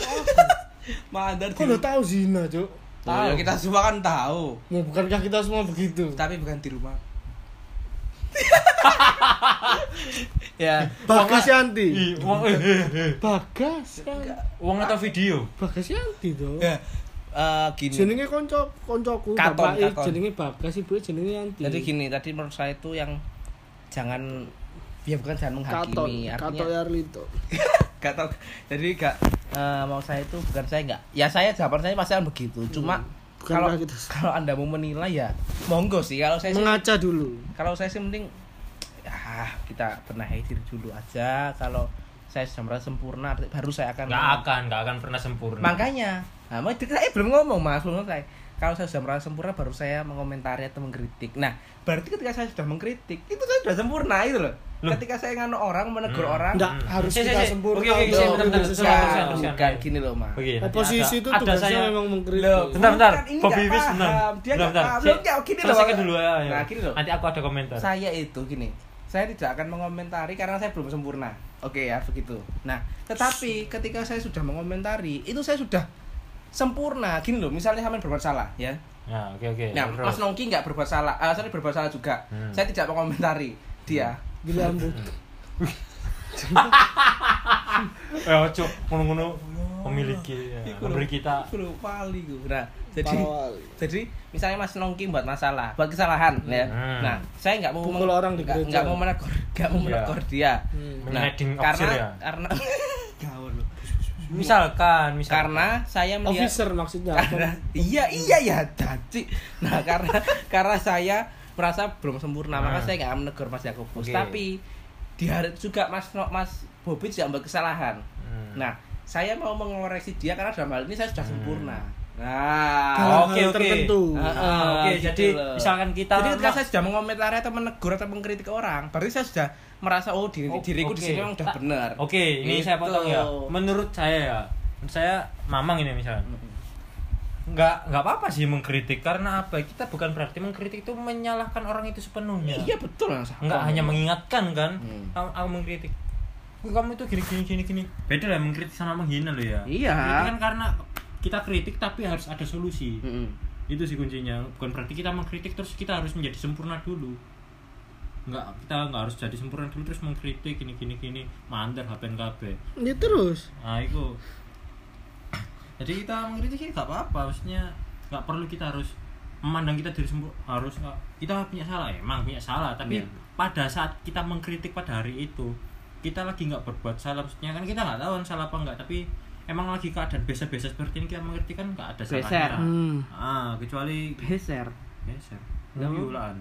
[SPEAKER 2] mandar
[SPEAKER 3] Kok
[SPEAKER 2] zina
[SPEAKER 3] lo tahu zina, Cuk?
[SPEAKER 2] tahu ya, kita semua kan tahu
[SPEAKER 3] Nah, bukankah kita semua begitu?
[SPEAKER 2] tapi bukan di rumah ya
[SPEAKER 3] Bagas Yanti.
[SPEAKER 2] Iya.
[SPEAKER 4] Ih, uang eh, eh, eh.
[SPEAKER 3] Bagas. Yanti.
[SPEAKER 4] uang atau video
[SPEAKER 3] Bagas Yanti dong.
[SPEAKER 2] ya eh, gini
[SPEAKER 3] jenenge konco koncoku
[SPEAKER 2] Katon,
[SPEAKER 3] bapake
[SPEAKER 2] Katon.
[SPEAKER 3] jenenge Bagas ibu e jenenge Yanti
[SPEAKER 2] jadi gini tadi menurut saya itu yang jangan ya bukan jangan
[SPEAKER 3] Katon
[SPEAKER 2] menghakimi
[SPEAKER 3] Katon
[SPEAKER 2] artinya
[SPEAKER 3] Yarlito
[SPEAKER 2] gak tau jadi gak eh, mau saya itu bukan saya gak ya saya jawaban saya pasti akan begitu cuma
[SPEAKER 3] Bukan
[SPEAKER 2] kalau
[SPEAKER 3] kita-
[SPEAKER 2] kalau anda mau menilai ya monggo sih kalau saya sih
[SPEAKER 3] mengaca dulu
[SPEAKER 2] kalau saya sih mending ah kita benahi diri dulu aja kalau saya sudah merasa sempurna baru saya akan
[SPEAKER 4] nggak akan nggak akan pernah sempurna
[SPEAKER 2] makanya nah, mau- saya belum ngomong mas belum selesai kalau saya sudah merasa sempurna baru saya mengomentari atau mengkritik nah berarti ketika saya sudah mengkritik itu saya sudah sempurna itu loh
[SPEAKER 4] Loh.
[SPEAKER 2] ketika saya ngano orang menegur
[SPEAKER 4] Hmm.
[SPEAKER 2] orang
[SPEAKER 3] Enggak harus
[SPEAKER 4] Si, si,
[SPEAKER 3] kita
[SPEAKER 4] si.
[SPEAKER 3] sempurna
[SPEAKER 4] Oke,
[SPEAKER 2] Loh,
[SPEAKER 4] oke, si,
[SPEAKER 3] dong,
[SPEAKER 4] bentar, bentar,
[SPEAKER 3] Indonesia.
[SPEAKER 4] bentar,
[SPEAKER 2] bukan,
[SPEAKER 4] bentar, bentar.
[SPEAKER 2] bukan gini loh mas
[SPEAKER 4] Begini, nanti
[SPEAKER 3] oposisi
[SPEAKER 4] ada-
[SPEAKER 3] Nah, itu
[SPEAKER 4] ada
[SPEAKER 3] tugasnya
[SPEAKER 4] saya-
[SPEAKER 3] memang
[SPEAKER 2] Loh,
[SPEAKER 3] mengkritik
[SPEAKER 4] Bentar, bentar.
[SPEAKER 2] Kan ini
[SPEAKER 4] Bobby
[SPEAKER 2] nggak
[SPEAKER 4] Wis, bentar.
[SPEAKER 2] paham. Dia
[SPEAKER 4] Bentar,
[SPEAKER 2] nggak
[SPEAKER 4] bentar.
[SPEAKER 2] paham.
[SPEAKER 4] Si-
[SPEAKER 2] Loh, nggak, gini loh,
[SPEAKER 4] selesaikan
[SPEAKER 2] Mas.
[SPEAKER 4] dulu ya. ya.
[SPEAKER 2] Nah, gini loh.
[SPEAKER 4] Nanti aku ada komentar.
[SPEAKER 2] saya itu gini saya tidak akan mengomentari karena saya belum sempurna oke ya begitu nah tetapi ketika saya sudah mengomentari itu saya sudah sempurna gini loh misalnya sampean berbuat salah ya
[SPEAKER 4] Nah, oke oke.
[SPEAKER 2] nah
[SPEAKER 4] Terus.
[SPEAKER 2] Mas Nongki nggak berbuat salah ah, sorry berbuat salah juga
[SPEAKER 4] Hmm.
[SPEAKER 2] saya tidak mengomentari dia (laughs)
[SPEAKER 3] gila ambu
[SPEAKER 4] Eh, ojo ngono-ngono memiliki ya.
[SPEAKER 2] Iku loh,
[SPEAKER 4] memberi kita
[SPEAKER 2] iku loh, pali iku. nah jadi
[SPEAKER 3] Pawali.
[SPEAKER 2] jadi misalnya Mas Nongki buat masalah buat kesalahan ya
[SPEAKER 4] Hmm.
[SPEAKER 2] nah saya nggak mau
[SPEAKER 3] Pukul orang di
[SPEAKER 2] nggak-
[SPEAKER 3] gereja.
[SPEAKER 2] nggak mau menegur (laughs) nggak mau
[SPEAKER 4] Iya.
[SPEAKER 2] menegur dia Nah,
[SPEAKER 3] Hmm.
[SPEAKER 4] Menghiding
[SPEAKER 2] karena
[SPEAKER 4] officer ya?
[SPEAKER 2] karena (laughs) Gaul loh.
[SPEAKER 4] misalkan, misalkan
[SPEAKER 2] karena saya melihat
[SPEAKER 3] officer maksudnya
[SPEAKER 2] (laughs) karena iya iya ya caci nah karena (laughs) karena saya merasa belum sempurna maka
[SPEAKER 4] Nah.
[SPEAKER 2] saya nggak akan menegur Mas Yakobus
[SPEAKER 4] Oke.
[SPEAKER 2] tapi di hari itu juga Mas No- Mas Bobi juga membuat kesalahan
[SPEAKER 4] Hmm.
[SPEAKER 2] nah saya mau mengoreksi dia karena dalam hal ini saya sudah sempurna nah
[SPEAKER 3] Dalam hal
[SPEAKER 4] Oh, oke, oke.
[SPEAKER 3] tertentu
[SPEAKER 2] Ah, ah,
[SPEAKER 4] Ah, oke,
[SPEAKER 2] gitu
[SPEAKER 4] jadi
[SPEAKER 2] loh.
[SPEAKER 4] misalkan kita
[SPEAKER 2] jadi ketika saya sudah mengomentari atau menegur atau mengkritik orang berarti saya sudah merasa oh diri
[SPEAKER 4] Oh,
[SPEAKER 2] diriku di
[SPEAKER 4] oke.
[SPEAKER 2] sini memang sudah
[SPEAKER 4] Ta-
[SPEAKER 2] benar
[SPEAKER 4] Oke, ini saya
[SPEAKER 2] Gitu.
[SPEAKER 4] potong ya. Menurut saya ya, menurut saya Mamang ini misalnya. Nggak nggak apa-apa sih mengkritik karena apa? Kita bukan berarti mengkritik itu menyalahkan orang itu sepenuhnya.
[SPEAKER 2] iya betul Mas
[SPEAKER 4] nggak
[SPEAKER 2] Yakobus.
[SPEAKER 4] hanya mengingatkan kan
[SPEAKER 2] Hmm.
[SPEAKER 4] kamu, aku mengkritik "Wih, kamu itu gini gini gini gini beda lah mengkritik sama menghina lo ya
[SPEAKER 2] Iya.
[SPEAKER 4] Mengkritik kan karena kita kritik tapi harus ada solusi
[SPEAKER 2] Mm-mm.
[SPEAKER 4] itu sih kuncinya bukan berarti kita mengkritik terus kita harus menjadi sempurna dulu nggak kita nggak harus jadi sempurna dulu terus mengkritik gini gini gini mandar hapen kabeh
[SPEAKER 3] ya terus
[SPEAKER 4] nah itu jadi kita mengkritik nggak apa-apa maksudnya nggak perlu kita harus memandang kita diri sempur harus uh, kita punya salah emang punya salah tapi
[SPEAKER 2] Iya.
[SPEAKER 4] pada saat kita mengkritik pada hari itu kita lagi nggak berbuat salah maksudnya kan kita nggak tahu kan salah apa nggak tapi emang lagi keadaan biasa-biasa seperti ini kita mengkritik kan nggak ada
[SPEAKER 2] Beser.
[SPEAKER 4] salahnya
[SPEAKER 3] Hmm.
[SPEAKER 4] ah kecuali
[SPEAKER 2] beser
[SPEAKER 4] beser
[SPEAKER 2] Nggak
[SPEAKER 4] Ini
[SPEAKER 2] mau.
[SPEAKER 4] (laughs) ulaan.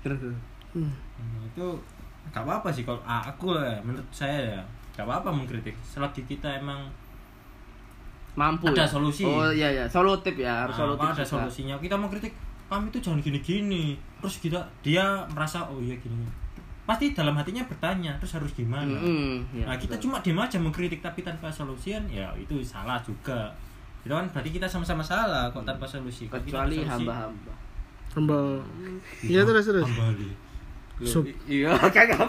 [SPEAKER 2] terus terus.
[SPEAKER 3] Hmm.
[SPEAKER 5] Nah,
[SPEAKER 4] Hmm, itu gak apa-apa sih kalau ah, aku lah menurut saya ya gak apa-apa mengkritik selagi kita emang
[SPEAKER 2] mampu
[SPEAKER 4] Ada
[SPEAKER 2] ya?
[SPEAKER 4] solusi.
[SPEAKER 2] oh iya iya solutif ya harus
[SPEAKER 4] Nah,
[SPEAKER 2] solutif
[SPEAKER 4] ada
[SPEAKER 2] juga.
[SPEAKER 4] solusinya kita mau kritik kami tuh jangan gini-gini terus kita dia merasa oh iya gini
[SPEAKER 5] pasti dalam hatinya bertanya terus harus gimana
[SPEAKER 2] Mm-mm, ya,
[SPEAKER 5] nah kita
[SPEAKER 2] betul.
[SPEAKER 5] cuma diem aja mengkritik tapi tanpa solusi kan, ya itu salah juga itu kan berarti kita sama-sama salah kok tanpa solusi Kalau kita ada
[SPEAKER 2] kecuali
[SPEAKER 5] solusi,
[SPEAKER 2] hamba-hamba.
[SPEAKER 3] Hamba. Iya terus terus.
[SPEAKER 5] kembali
[SPEAKER 2] Loh,
[SPEAKER 3] Sup.
[SPEAKER 2] i- Iya, (laughs) kagak.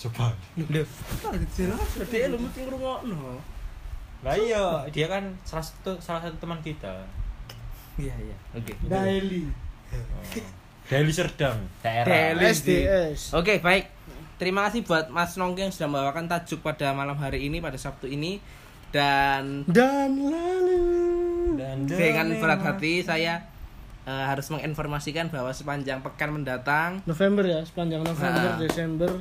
[SPEAKER 5] coba
[SPEAKER 2] Lho, jelas dhewe lu mesti ngrungokno.
[SPEAKER 4] Lah iya, dia kan salah satu salah satu teman kita.
[SPEAKER 2] Iya, iya. Oke.
[SPEAKER 3] Daily.
[SPEAKER 4] Deli Serdang, daerah.
[SPEAKER 2] Deli.
[SPEAKER 3] SDS.
[SPEAKER 2] Oke, baik. Terima kasih buat Mas Nongki yang sudah membawakan tajuk pada malam hari ini pada Sabtu ini dan
[SPEAKER 3] Dan lalu.
[SPEAKER 4] Dan
[SPEAKER 2] dengan berat hati saya eh, harus menginformasikan bahwa sepanjang pekan mendatang
[SPEAKER 3] November ya, sepanjang
[SPEAKER 2] Nah.
[SPEAKER 3] November, Desember.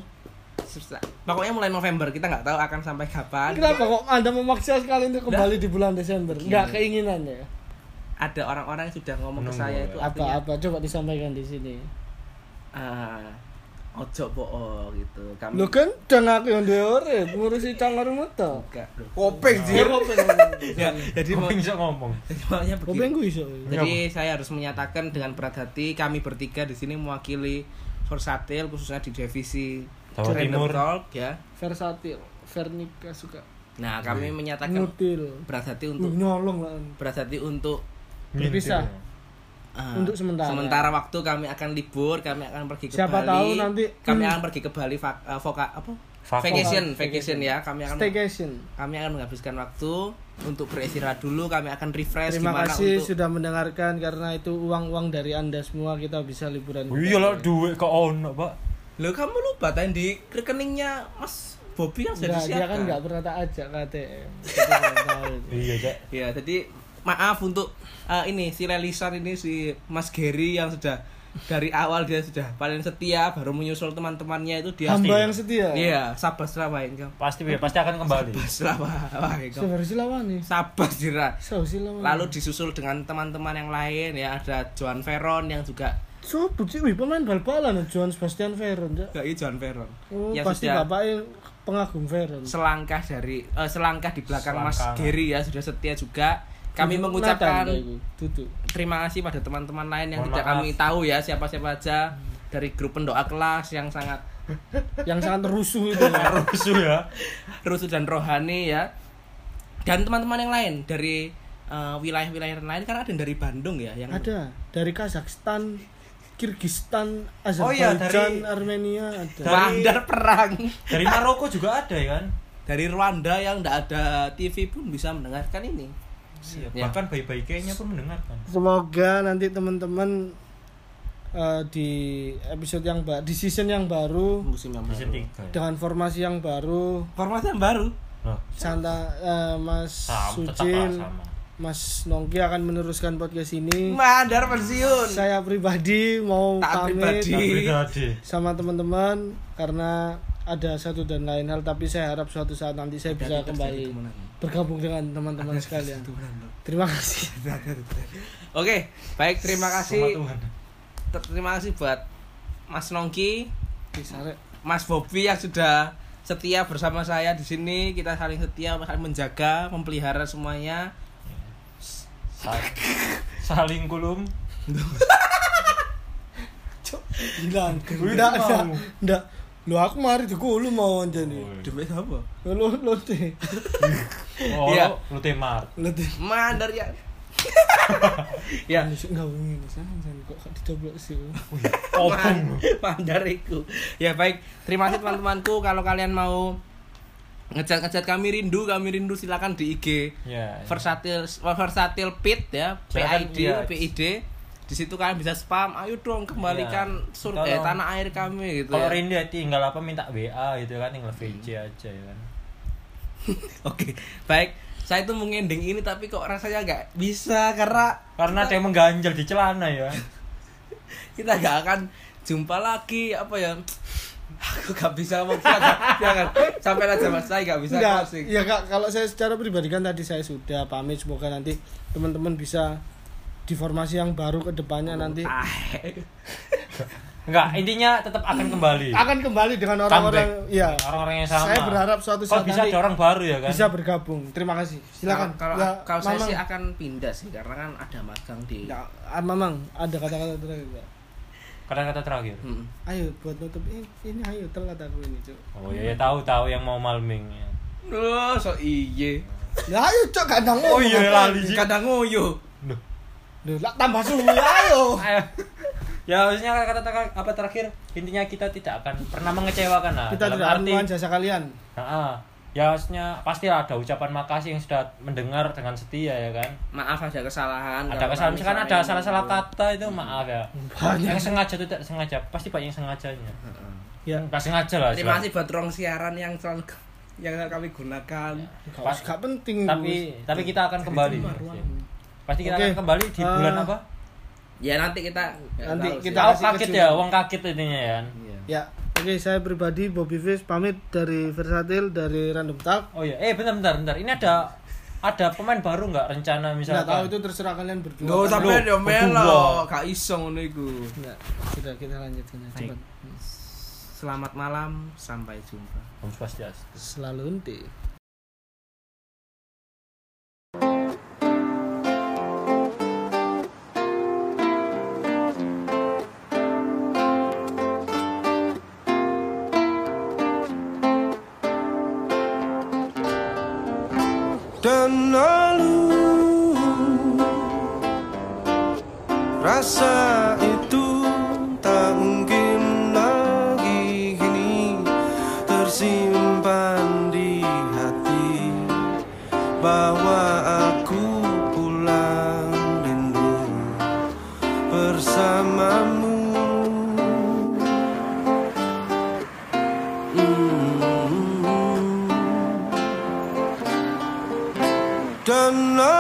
[SPEAKER 2] susah- pokoknya mulai November kita nggak tahu akan sampai kapan
[SPEAKER 3] Kenapa kok Anda memaksa sekali untuk kembali di bulan Desember? ya? Enggak keinginannya.
[SPEAKER 2] ada orang-orang yang sudah ngomong ke
[SPEAKER 4] Menunggu,
[SPEAKER 2] saya
[SPEAKER 4] ya.
[SPEAKER 2] itu artinya
[SPEAKER 3] Apa-apa coba disampaikan di sini.
[SPEAKER 2] ah, ojo bohong gitu kami
[SPEAKER 3] Lo kan jangan aku yang diurip, ngurusi cangar muto.
[SPEAKER 2] enggak loh.
[SPEAKER 1] Kopeng
[SPEAKER 2] iya.
[SPEAKER 1] sih.
[SPEAKER 2] (laughs) Ya, jadi mau-
[SPEAKER 4] bisa ngomong.
[SPEAKER 2] (laughs) jadi maunya
[SPEAKER 3] Kopeng
[SPEAKER 2] begitu
[SPEAKER 3] gue iso.
[SPEAKER 4] Iya,
[SPEAKER 2] jadi saya harus menyatakan dengan berat hati kami bertiga di sini mewakili Versatil khususnya di divisi
[SPEAKER 4] Jawa
[SPEAKER 2] Random
[SPEAKER 4] Timur.
[SPEAKER 2] Talk ya
[SPEAKER 3] Versatil, Vernika suka.
[SPEAKER 4] Iya.
[SPEAKER 2] nah kami menyatakan
[SPEAKER 3] Nutil.
[SPEAKER 2] berat hati
[SPEAKER 3] Lu
[SPEAKER 2] untuk
[SPEAKER 3] nyolong lah.
[SPEAKER 2] berat hati untuk
[SPEAKER 3] Berpisah.
[SPEAKER 2] Ah,
[SPEAKER 3] Untuk sementara.
[SPEAKER 2] Sementara waktu kami akan libur, kami akan pergi ke
[SPEAKER 3] Siapa
[SPEAKER 2] Bali.
[SPEAKER 3] tahu nanti-
[SPEAKER 2] kami
[SPEAKER 3] Hmm.
[SPEAKER 2] akan pergi ke Bali vak- eh, voka- apa?
[SPEAKER 4] Vakum.
[SPEAKER 2] Vacation,
[SPEAKER 3] Vacation.
[SPEAKER 2] vacation ya. Kami akan
[SPEAKER 3] Staycation.
[SPEAKER 2] kami akan menghabiskan waktu untuk beristirahat dulu. Kami akan refresh
[SPEAKER 3] Terima
[SPEAKER 2] gimana
[SPEAKER 3] kasih
[SPEAKER 2] untuk
[SPEAKER 3] sudah mendengarkan karena itu uang-uang dari Anda semua kita bisa liburan.
[SPEAKER 4] Iya lah duit kok ono, Pak.
[SPEAKER 2] Loh, kamu lupa tadi di rekeningnya Mas Bobby yang sudah
[SPEAKER 3] Enggak, dia kan
[SPEAKER 2] disiapkan.
[SPEAKER 3] enggak pernah tak ajak ke ATM. Jadi nggak tahu itu.
[SPEAKER 4] Iya, Cak.
[SPEAKER 2] Ya, jadi maaf untuk eh, ini si Lelisan ini si Mas Gary yang sudah dari awal dia sudah paling setia baru menyusul teman-temannya itu dia
[SPEAKER 3] Hamba yang setia.
[SPEAKER 2] Iya, sabar selawain kamu.
[SPEAKER 4] Pasti ya, pasti akan kembali.
[SPEAKER 2] Selawain kamu.
[SPEAKER 3] Sabar silawani.
[SPEAKER 2] Sabar Jira.
[SPEAKER 3] Sabar silawani.
[SPEAKER 2] Lalu disusul dengan teman-teman yang lain ya ada Joan Veron yang juga
[SPEAKER 3] Sopo sih wih, pemain bal-balan Johan Sebastian Veron. Cak.
[SPEAKER 2] Iya, Joan Veron.
[SPEAKER 3] Oh,
[SPEAKER 2] yang
[SPEAKER 3] pasti
[SPEAKER 2] Ya, sudah
[SPEAKER 3] bapaknya pengagum Veron.
[SPEAKER 2] selangkah dari eh, selangkah di belakang
[SPEAKER 4] Selangkah.
[SPEAKER 2] Mas Geri ya sudah setia juga. Kami
[SPEAKER 3] Itu
[SPEAKER 2] mengucapkan
[SPEAKER 3] Nathan, kayak gitu. Tutu.
[SPEAKER 2] terima kasih pada teman-teman lain yang
[SPEAKER 4] Mohon
[SPEAKER 2] tidak
[SPEAKER 4] maaf.
[SPEAKER 2] kami tahu ya siapa-siapa aja dari grup pendoa kelas yang sangat
[SPEAKER 3] Yang sangat rusuh
[SPEAKER 2] (laughs)
[SPEAKER 3] itu.
[SPEAKER 4] Rusuh ya.
[SPEAKER 2] rusuh dan rohani ya. Dan teman-teman yang lain dari eh, wilayah-wilayah lain karena ada yang dari Bandung ya yang
[SPEAKER 3] ada dari Kazakhstan, Kirgistan,
[SPEAKER 4] Oh iya,
[SPEAKER 3] Azerbaijan,
[SPEAKER 4] dari-
[SPEAKER 3] Armenia ada.
[SPEAKER 4] Da- dari-
[SPEAKER 2] Bandar perang.
[SPEAKER 4] Dari Maroko juga ada ya kan?
[SPEAKER 2] dari Rwanda yang tidak ada TV pun bisa mendengarkan ini.
[SPEAKER 3] Iya.
[SPEAKER 2] Ya.
[SPEAKER 4] Bahkan bayi-bayi kayaknya pun kan? mendengarkan.
[SPEAKER 3] Semoga nanti teman-teman eh, di episode yang ba- di season yang baru
[SPEAKER 2] Musim yang
[SPEAKER 4] Season
[SPEAKER 2] baru.
[SPEAKER 4] 3.
[SPEAKER 3] dengan formasi yang baru
[SPEAKER 2] Formasi yang baru.
[SPEAKER 4] Loh,
[SPEAKER 3] Santa eh, Mas
[SPEAKER 4] sama tetap lah
[SPEAKER 3] Sujin,
[SPEAKER 4] sama.
[SPEAKER 3] Mas Nongki akan meneruskan podcast ini.
[SPEAKER 2] Mandar pensiun.
[SPEAKER 3] Saya pribadi mau
[SPEAKER 2] Tak
[SPEAKER 3] pamit
[SPEAKER 2] pribadi.
[SPEAKER 4] Tapi tadi.
[SPEAKER 3] sama teman-teman karena ada satu dan lain hal tapi saya harap suatu saat nanti saya bisa kembali bergabung dengan teman-teman sekalian. Terima kasih.
[SPEAKER 2] Oke, baik terima
[SPEAKER 4] Sama
[SPEAKER 2] kasih.
[SPEAKER 4] Tuhan.
[SPEAKER 2] Ter- Terima kasih buat Mas Nongki,
[SPEAKER 3] Disarek.
[SPEAKER 2] Mas Bobi yang sudah setia bersama saya di sini. Kita saling setia, saling menjaga, memelihara semuanya.
[SPEAKER 4] Sa- Saling kulum.
[SPEAKER 3] Gila,
[SPEAKER 4] Wih,
[SPEAKER 3] enggak,
[SPEAKER 4] mau.
[SPEAKER 3] enggak, enggak. Lu aku mari dulu lu mau anjani.
[SPEAKER 2] Demi apa?
[SPEAKER 3] Lu lu deh.
[SPEAKER 4] Oh,
[SPEAKER 2] Iya.
[SPEAKER 4] lu temar.
[SPEAKER 3] Lu deh.
[SPEAKER 2] Mandar ya. ya,
[SPEAKER 3] Enggak wingi sanjan kok gak dicoblok sih.
[SPEAKER 4] Obong.
[SPEAKER 2] (laughs) Mandariku. Ya baik, terima kasih teman-temanku. Kalau kalian mau ngechat-ngechat kami rindu, kami rindu silakan di IG
[SPEAKER 4] Ya.
[SPEAKER 2] Versatil Versatil Pit ya,
[SPEAKER 4] Silakan,
[SPEAKER 2] PID,
[SPEAKER 4] iya.
[SPEAKER 2] PID. Di situ kalian bisa spam, ayo dong kembalikan
[SPEAKER 4] Iya.
[SPEAKER 2] surga eh,
[SPEAKER 4] Tolong.
[SPEAKER 2] tanah air kami gitu.
[SPEAKER 4] Kalau
[SPEAKER 2] ya.
[SPEAKER 4] Rindy tinggal apa minta WA gitu kan tinggal VC aja ya kan.
[SPEAKER 3] Iya.
[SPEAKER 2] Oke, baik. Saya tuh mau ending ini tapi kok rasanya nggak bisa karena
[SPEAKER 4] Karena ada yang mengganjal di celana ya.
[SPEAKER 2] kita nggak akan jumpa lagi apa ya aku nggak bisa ngomong jangan jangan sampai aja mas saya nggak bisa
[SPEAKER 3] Enggak.
[SPEAKER 2] closing.
[SPEAKER 3] Ya Kak, kalau saya secara pribadi kan tadi saya sudah pamit semoga nanti teman-teman bisa di formasi yang baru ke depannya nanti
[SPEAKER 2] Ah.
[SPEAKER 4] Enggak, intinya tetap akan kembali.
[SPEAKER 3] akan kembali dengan orang-orang ya
[SPEAKER 4] Orang-orang yang sama.
[SPEAKER 3] saya berharap suatu
[SPEAKER 4] Kalau
[SPEAKER 3] saat
[SPEAKER 4] bisa
[SPEAKER 3] nanti
[SPEAKER 4] ada orang baru ya kan.
[SPEAKER 3] bisa bergabung terima kasih silakan
[SPEAKER 2] Kalau
[SPEAKER 3] Ya,
[SPEAKER 2] kalau- kalau saya
[SPEAKER 3] Mamang.
[SPEAKER 2] sih akan pindah sih karena kan ada magang di
[SPEAKER 3] Ya, ah, Mamang ada kata-kata terakhir Kak.
[SPEAKER 4] kata-kata terakhir
[SPEAKER 2] Mm.
[SPEAKER 3] ayo buat nutup ini, ini ayo telat aku ini cuk
[SPEAKER 4] oh iya ya tahu tahu yang mau malming ya.
[SPEAKER 2] Loh, Oh, so iye.
[SPEAKER 3] ya ayo cuk kadang
[SPEAKER 4] oh iya lali Ji.
[SPEAKER 2] Kadang ngoyo.
[SPEAKER 4] Duh.
[SPEAKER 3] Duh, lah tambah suwi ayo
[SPEAKER 4] Ayo. (laughs) ya harusnya kata-kata terakhir- apa terakhir intinya kita tidak akan pernah mengecewakan lah
[SPEAKER 3] kita
[SPEAKER 4] dalam
[SPEAKER 3] tidak
[SPEAKER 4] arti
[SPEAKER 3] menemukan jasa kalian
[SPEAKER 4] Nah, ah. ya harusnya pasti ada ucapan makasih yang sudah mendengar dengan setia ya kan
[SPEAKER 2] Maaf ada kesalahan.
[SPEAKER 4] ada
[SPEAKER 2] kalau
[SPEAKER 4] kesalahan
[SPEAKER 2] kami
[SPEAKER 4] misalkan ada
[SPEAKER 2] salah
[SPEAKER 4] salah-salah
[SPEAKER 2] ini.
[SPEAKER 4] kata itu maaf ya
[SPEAKER 3] Hmm. Banyak.
[SPEAKER 4] yang sengaja atau tidak sengaja pasti banyak yang sengajanya
[SPEAKER 3] ya
[SPEAKER 4] nggak sengaja lah
[SPEAKER 2] Terima
[SPEAKER 4] jelas.
[SPEAKER 2] kasih buat ruang siaran yang selalu yang kami gunakan.
[SPEAKER 3] gak,
[SPEAKER 4] Pas-
[SPEAKER 3] gak penting
[SPEAKER 4] tapi tapi kita akan kembali pasti kita
[SPEAKER 3] Oke.
[SPEAKER 4] akan kembali di
[SPEAKER 3] Eh,
[SPEAKER 4] bulan apa
[SPEAKER 2] Ya nanti kita ya,
[SPEAKER 3] Nanti
[SPEAKER 2] tahu sih.
[SPEAKER 3] kita-
[SPEAKER 4] Aku
[SPEAKER 3] kasih
[SPEAKER 4] kaget
[SPEAKER 3] kejutan.
[SPEAKER 4] ya uang kaget intinya ya
[SPEAKER 2] Iya.
[SPEAKER 3] ya oke saya pribadi Bobby Fish pamit dari Versatil dari Random Talk
[SPEAKER 4] oh iya eh bentar bentar bentar ini ada ada pemain baru nggak rencana misalkan
[SPEAKER 3] nggak tahu itu terserah kalian berdua
[SPEAKER 2] Loh,
[SPEAKER 3] Kan-
[SPEAKER 2] sampai
[SPEAKER 4] Loh,
[SPEAKER 2] dia
[SPEAKER 4] berdua.
[SPEAKER 2] melo, gak iso ngono iku.
[SPEAKER 3] Nggak, sudah kita lanjutkan aja
[SPEAKER 4] Baik.
[SPEAKER 3] cepat
[SPEAKER 2] Selamat malam, sampai jumpa.
[SPEAKER 4] Om Swastiastu.
[SPEAKER 3] selalu nanti
[SPEAKER 1] dan lalu Rasa itu tak mungkin lagi kini tersimpan di hati bahwa aku pulang rindu bersamamu. Hmm. Mm. dan lalu